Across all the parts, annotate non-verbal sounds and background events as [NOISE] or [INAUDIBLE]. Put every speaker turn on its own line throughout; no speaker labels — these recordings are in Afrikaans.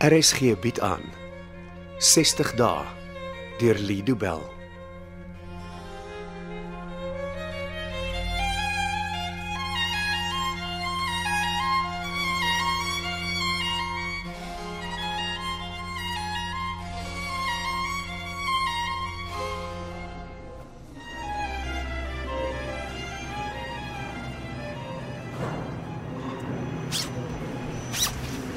RSG bied aan 60 dae deur Lido Bell.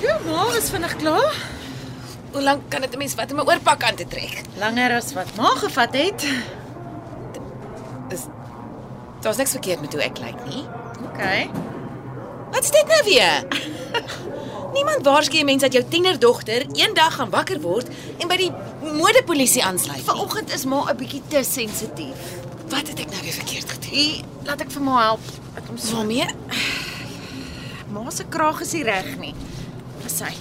Jou ma Ja, is vinnig klaar.
Hoe lank kan dit 'n mens vat om 'n oorpak aan te trek?
Langer as wat ma gevat het.
Daar's niks verkeerd met hoe ek lyk nie.
OK.
Wat's dit nou weer? [LAUGHS] Niemand waarsku 'n mens dat jou tienerdogter eendag gaan wakker word en by die modepolisie aansluit. nie.
Vanoggend is ma 'n bietjie te sensitief.
Wat het ek nou weer verkeerd gedoen?
Hier, laat ek vir ma help. Ek kom so.
Waarmee?
Ma se kraag is nie reg nie. Dis sy.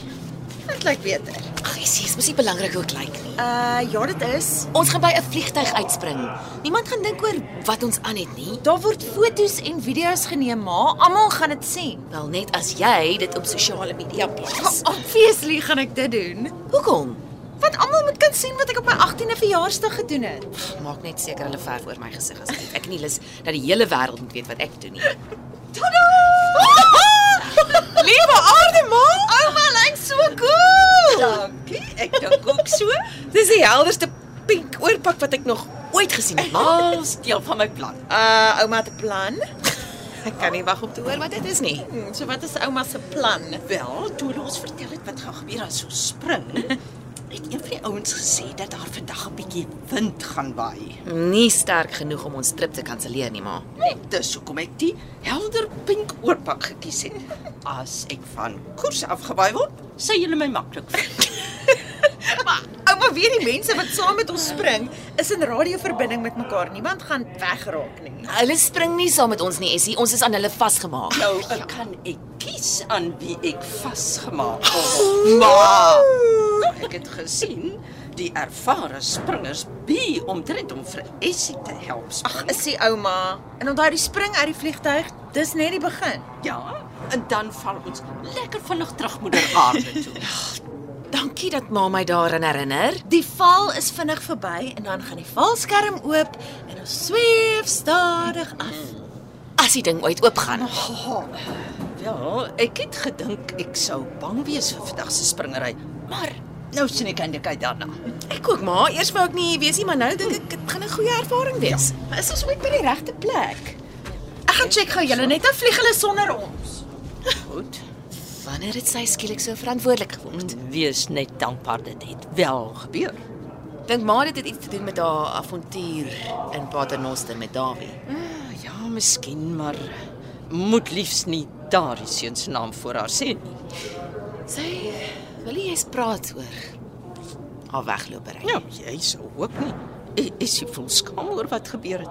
Dit lyk beter.
Ag, isie, is mos nie belangrik hoe ek lyk nie.
Uh ja, dit is.
Ons gaan by 'n vliegtyg uitspring. Niemand gaan dink oor wat ons aan het nie.
Daar word fotos en video's geneem, ma. Almal gaan dit sien.
Wel net as jy dit op sosiale media plaas.
Obviously gaan ek dit doen.
Hoekom?
Want almal moet kan sien wat ek op my 18de verjaarsdag gedoen het.
Maak net seker hulle verf oor my gesig asseblief. Ek het nie lus dat die hele wêreld moet weet wat ek doen nie.
Liewe aarde ma, Ja. ouma lyk so cool. Dankie. Ek dink ook so.
Dis die helderste pink oorpak wat ek nog ooit gesien het. Maar steel van my plan.
Uh ouma het 'n plan.
Ek kan nie wag om te hoor wat dit is nie.
Hmm, So wat is ouma se plan?
Wel, toe hulle ons vertel het wat gaan gebeur as ons spring, het een van die ouens gesê dat daar vandag 'n bietjie wind gaan waai.
Nie sterk genoeg om ons trip te kanselleer nie, maar
Net dis hoekom ek die helder pink oorpak gekies het. As ek van koers afgewaai word, sal julle my maklik vind.
Maar ouma weet die mense wat saam met ons spring is in radioverbinding met mekaar. Niemand gaan wegraak nie.
hulle spring nie saam met ons nie, Essie. Ons is aan hulle vasgemaak.
Nou ek kan ek kies aan wie ek vasgemaak word. Maar nou, ek het gesien die ervare springers bi omtrent om vir Essie te help. Ag,
Ag, is die ouma. En onthou die spring uit die vliegtyg, dis net die begin.
Ja, en dan val ons lekker vinnig terug moeder aarde toe.
Dankie dat ma my daaraan herinner.
Die val is vinnig verby en dan gaan die valskerm oop en ons sweef stadig af.
As die ding ooit oopgaan.
Wel, Ja, ek het gedink ek sou bang wees vir vandag se springery, maar nou sien ek eintlik uit daarna.
Ek ook, ma. Eers wou ek nie weet nie, maar nou dink ek dit gaan 'n goeie ervaring wees.
Maar is ons ooit by die regte plek? Ek gaan check gou julle net, dan vlieg hulle sonder ons.
Goed.
Wanneer het sy skielik so verantwoordelik geword?
Wees net dankbaar dit het wel gebeur.
Dink maar dit het iets te doen met haar avontuur in Paternoster met Dawie.
Ja, miskien, maar moet liefs nie daardie seun se naam voor haar sê nie.
Sy wil nie eens praat oor haar weglopery.
Ja, jy sou ook nie. E- Is jy vol skaam oor wat gebeur het?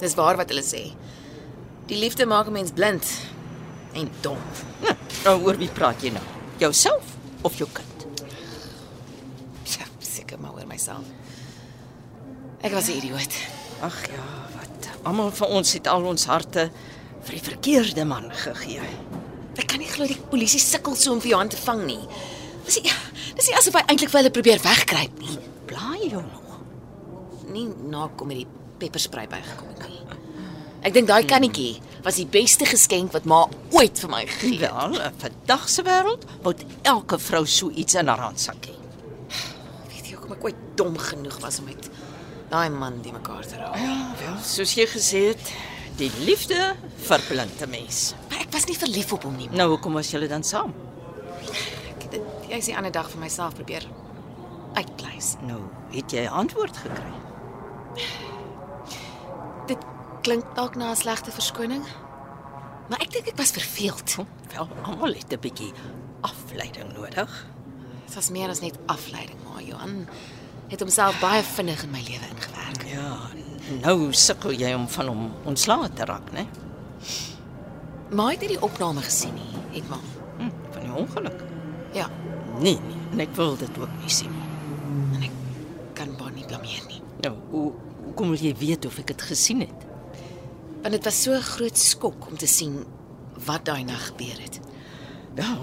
Dis waar wat hulle sê. Die liefde maak 'n mens blind en dom.
Hm, nou oor wie praat jy nou? Jouself of jou kind?
Ja, seker maar oor myself. Ek was 'n idioot.
Ag ja, wat. Almal van ons het al ons harte vir die verkeerde man gegee.
Ek kan nie glo die polisie sukkel so om vir jou aan te vang nie. Dis nie, dis nie asof hy eintlik vir hulle probeer wegkruip nie.
Blaai jou nog.
Nie nakom met die pepperspray bygekom het nie. Ek dink daai kannetjie was die beste geskenk wat ma ooit vir my gegee het.
Wel, in eh, vandag se wêreld moet elke vrou so iets in haar handsak hê.
Weet jy hoekom ek ooit dom genoeg was om met daai man die mekaar te raak?
Ja, wel, soos jy gesê het, die liefde verblind 'n mens.
Maar ek was nie verlief op hom nie.
Nou hoekom was julle dan saam?
Ek dit jy's die ander dag vir myself probeer uitpleis.
Nou, het jy 'n antwoord gekry?
Dit klink dalk na 'n slegte verskoning. Maar ek dink ek was verveeld.
Wel, almal het 'n bietjie afleiding nodig.
Dit was meer as net afleiding, maar Johan het homself baie vinnig in my lewe ingewerk.
Ja, nou sukkel jy om van hom ontslae te raak, né?
Maar hy het nie die opname gesien nie, het maar.
Hm, van die ongeluk.
Ja,
Nee, nee, en ek wil dit ook nie sien nie.
en ek kan hom nie blameer nie.
Nou, hoe hoekom wil jy weet of ek dit gesien het?
Want dit was so 'n groot skok om te sien wat daai nag gebeur het.
Ja,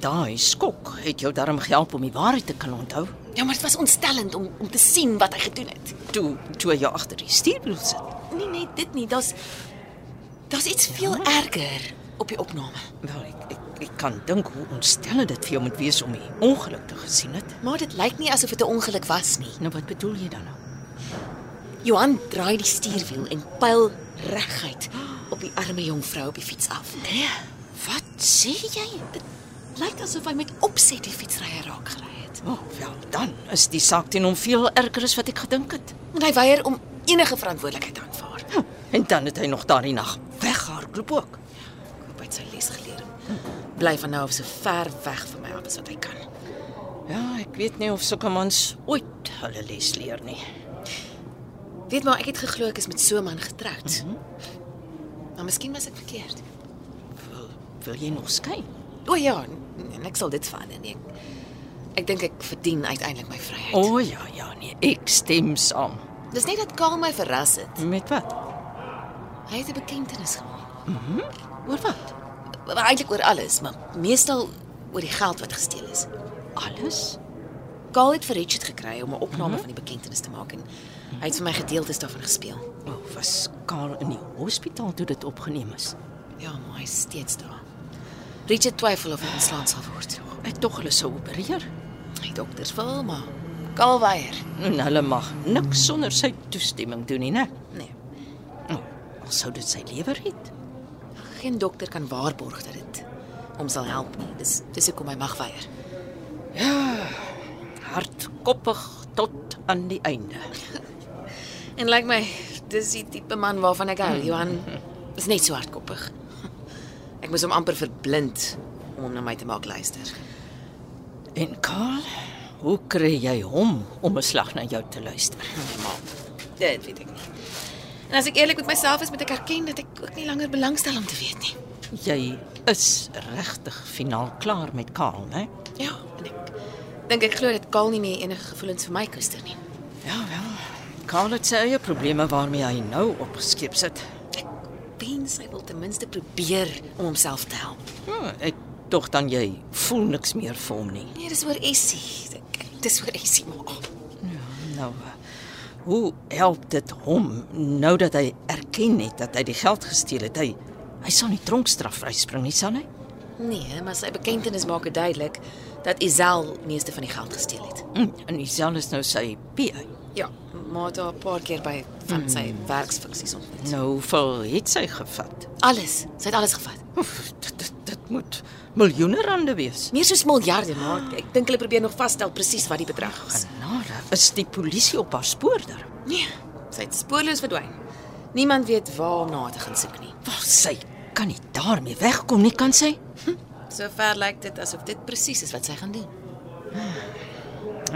daai skok het jou darm gehelp om die waarheid te kan onthou.
Ja, maar dit was ontstellend om om te sien wat hy gedoen het.
Toe toe jy agter die stuurwiel sit.
Nie net dit nie, daar's daar's iets veel erger op die opname.
Wel, ek ek, ek kan dink hoe ontstellend dit vir jou moet wees om die ongeluk te gesien het.
Maar dit lyk nie asof dit 'n ongeluk was nie.
Nou wat bedoel jy dan nou?
Johan draai die stuurwiel en pyl reguit op die arme jong vrou op die fiets af.
Nee, wat
Sê jy? Dit lyk asof hy met opset die fietsryer raak gery het.
Oh, wel, dan is die saak teen hom veel erger as wat ek gedink het.
En hy weier om enige verantwoordelikheid te aanvaar.
Hm, En dan het hy nog daardie nag weggehardloop ook.
Ek hoop hy het sy les geleer. Bly van nou af so ver weg van my af as wat hy kan.
Ja, ek weet nie of sulke mans ooit hulle les leer nie.
Weet maar, ek het geglo ek is met so 'n man getroud.
Mhm.
Mm -hmm. Maar miskien was ek verkeerd.
Wil, wil jy nog skei?
O ja, n- en ek sal dit verander nie. Ek, ek dink ek verdien uiteindelik my vryheid.
O oh, ja, ja, nee, ek stem saam.
Dis net dat Karl my verras het.
Met wat?
Hy het 'n bekentenis gemaak.
Mhm. Oor wat?
Maar Eintlik oor alles, maar meestal oor die geld wat gesteel is.
Alles? Mhm.
Karl het vir Richard gekry om 'n opname mm -hmm. van die bekentenis te maak en hy het vir my gedeeltes daarvan gespeel.
O, oh, was Karl in die hospitaal toe dit opgeneem is.
Ja, maar hy is steeds daar. Richard twyfel of hy ontslaan sal word.
Ek tog hulle sou opereer.
Die dokters wil maar Karl weier.
En hulle mag niks sonder sy toestemming doen nie, né?
Nee.
Oh, al sou dit sy lewer red.
Geen dokter kan waarborg dat dit hom sal help nie. Dis dis hoekom hy mag weier.
Hardkoppig tot aan die einde.
En lyk like my, dis die tipe man waarvan ek hou. Johan is net so hardkoppig. Ek moes hom amper verblind om hom na my te maak luister.
En Karl, hoe kry jy hom om 'n slag na jou te luister?
Dit weet ek nie. En as ek eerlik met myself is, moet ek erken dat ek ook nie langer belangstel om te weet nie.
Jy is regtig finaal klaar met Karl, né?
Ja, en ek dink ek glo dit Kaal nie meer enige gevoelens vir my koester nie.
Ja wel. Karl het sy eie probleme waarmee hy nou opgeskep sit.
Ek wens hy wil ten minste probeer om homself te help.
Hm, ek tog dan jy voel niks meer vir hom nie.
Nee, dis oor Essie. Ek- Dis oor Essie maar.
Nou, hoe help dit hom nou dat hy erken het dat hy die geld gesteel het? Hy hy sal nie tronkstraf vryspring nie, sal hy?
Nee, maar sy bekentenis maak dit duidelik dat Isel meeste van die geld gesteel het.
Hm, en Isel is nou sy PA.
Ja, maar daar 'n paar keer by van sy mm. werksfunksies ontmoet.
Nou, hoeveel het sy gevat?
Alles, sy het alles gevat.
Oef, dit, dit, dit moet miljoene rande wees.
Meer soos miljarde, maar ek dink hulle probeer nog vasstel presies wat die bedrag was.
Genade, is die polisie op haar spoor daar?
Nee, sy het spoorloos verdwyn. Niemand weet waar om na haar te gaan soek nie.
Wel, sy kan nie daarmee wegkom nie, kan sy?
Sover lyk dit asof dit presies is wat sy gaan doen.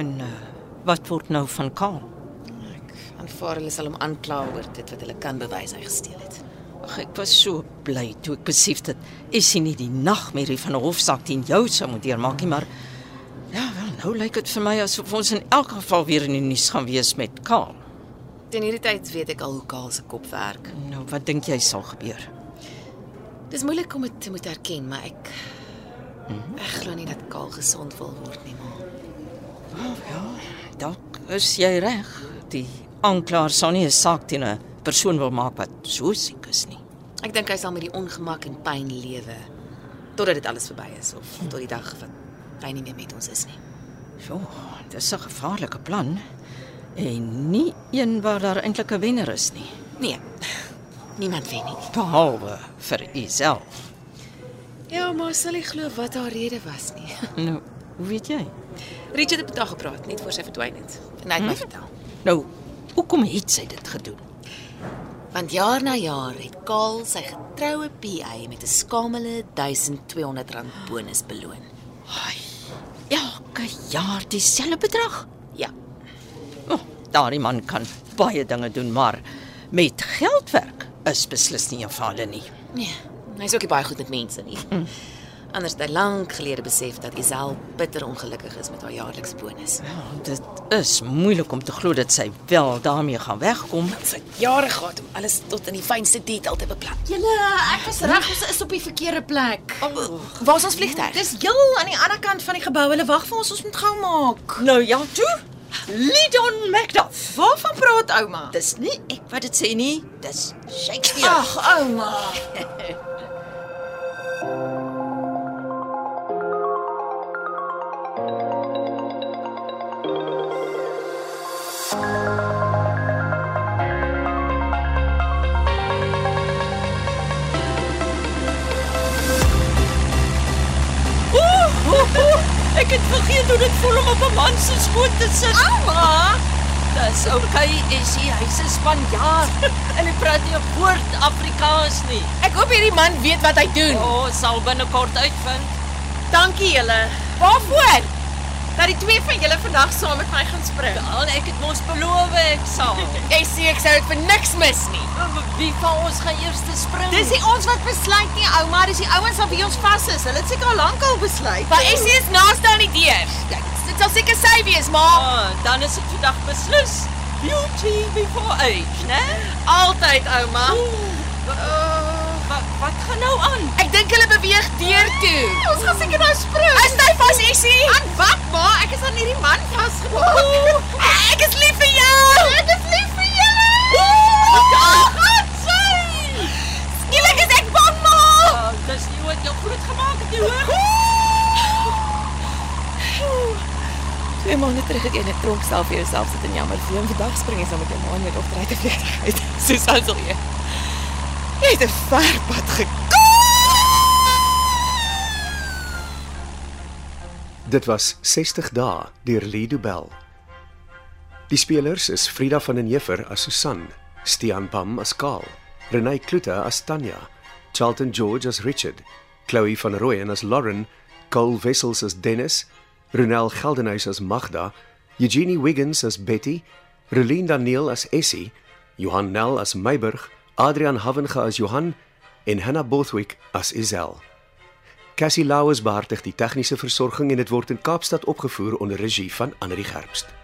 En uh, wat word nou van Karl?
Ek aanvaar hulle sal hom aankla oor dit wat hulle kan bewys hy gesteel het.
Ag, ek was so bly toe ek besef dat is nie die nagmerrie van 'n hofsaak teen jou sou moet deurmaak nie, maar ja, wel, nou lyk dit vir my asof ons in elk geval weer in die nuus gaan wees met Karl.
Teen hierdie tyd weet ek al hoe Kaal se kop werk.
Nou, wat dink jy sal gebeur?
Dis moeilik om dit te moet erken, maar ek ek glo nie dat Kaal gesond wil word nie, maar
Ja, dalk is jy reg. Die aanklaer sal nie 'n saak teen 'n persoon wil maak wat so siek is nie.
Ek dink hy sal met die ongemak en pyn lewe totdat dit alles verby is of tot die dag wat hy nie meer met ons is nie.
Ja, dis 'n gevaarlike plan en nie een waar daar eintlik 'n wenner is nie,
Nee. [LAUGHS] Niemand weet nie.
behalwe vir jouself.
Ja, maar sal nie glo wat haar rede was nie.
Nou, hoe weet jy?
[LAUGHS] Richard het met haar gepraat net voor sy verdwyn het en hy het my vertel.
Nou, hoekom het sy dit gedoen?
Want jaar na jaar het Kaal sy getroue PA met 'n skamele R1200 bonus beloon.
Ai, elke jaar dieselfde bedrag.
Ja,
Oh, daardie man kan baie dinge doen, maar met geldwerk is beslis nie 'n fale nie.
Nee, hy's ook nie baie goed met mense nie. Anders het hy lank gelede besef dat Isel bitter ongelukkig is met haar jaarlikse bonus.
Ja, dit is moeilik om te glo dat sy wel daarmee gaan wegkom.
Sy het jare gehad om alles tot in die fynste detail te beplan.
Julle, ek is reg, ons is op die verkeerde plek.
Waar is ons vliegtuig?
Dis heel aan die ander kant van die gebou. Hulle wag vir ons, ons moet gou maak.
Nou ja, toe. Lidon Macduff.
Waarvan praat ouma?
Dis nie ek wat dit sê nie, dis Shakespeare.
Ag, ouma.
Ek het vergeet hoe dit voel om op 'n man se skoot te sit. Ouma, dis okay, is hy hy's 'n
[LAUGHS]
Spanjaard en hy praat nie 'n woord Afrikaans nie.
Ek hoop hierdie man weet wat hy doen.
O, oh, sal binnekort uitvind.
Dankie julle.
Waarvoor?
Dat die twee van julle vandag saam met my gaan spring.
Al ek het mos beloof ek
[LAUGHS]
sal.
Jy sê ek sou dit vir niks mis nie.
Wie van ons gaan eers te spring?
Dis nie ons wat besluit nie, ouma, dis die ouens wat by ons vas is. Hulle het seker al lank al besluit. Ja,
Maar Essie is naaste aan die deur. Dit sal seker sy wees, maar
Ah, dan is dit vandag beslis. Beauty before age, né?
Ja. altyd, ouma.
Wat wat gaan nou aan?
ek dink hulle beweeg deur toe.
Ons gaan seker nou spring.
Is jy vas, Essie?
Aan wat, ma? Ek is aan hierdie man vasgemaak.
Ek is lief vir jou.
Ek is lief vir julle.
Skielik is ek bang maar.
Ah, dis nie wat jou groot gemaak het nie, hoor?
Twee maande terug het jy in 'n tronk self vir jouself sit en jammer vir hom vandag spring jy saam met jou ma en jou dogter uit 'n vliegtuig uit. [LAUGHS] Soos Ansel jy. Jy het 'n ver pad gekom.
Dit was 60 dae deur Lido Bell. Die spelers is Frida van den Heever as Susan, Stian Pam as Karl, Renay Klute as Tanya, Charlton George as Richard, Chloe van Rooyen as Lauren, Cole Wessels as Dennis, Ronel Geldenhuys as Magda, Eugenie Wiggins as Betty, Relien Daniel as Essie, Johan Nel as Meiburg, Adrian Havenga as Johan en Hannah Bothwick as Isel. Cassie Lauers behartig die tegniese versorging en dit word in Kaapstad opgevoer onder regie van Anri Gerbst.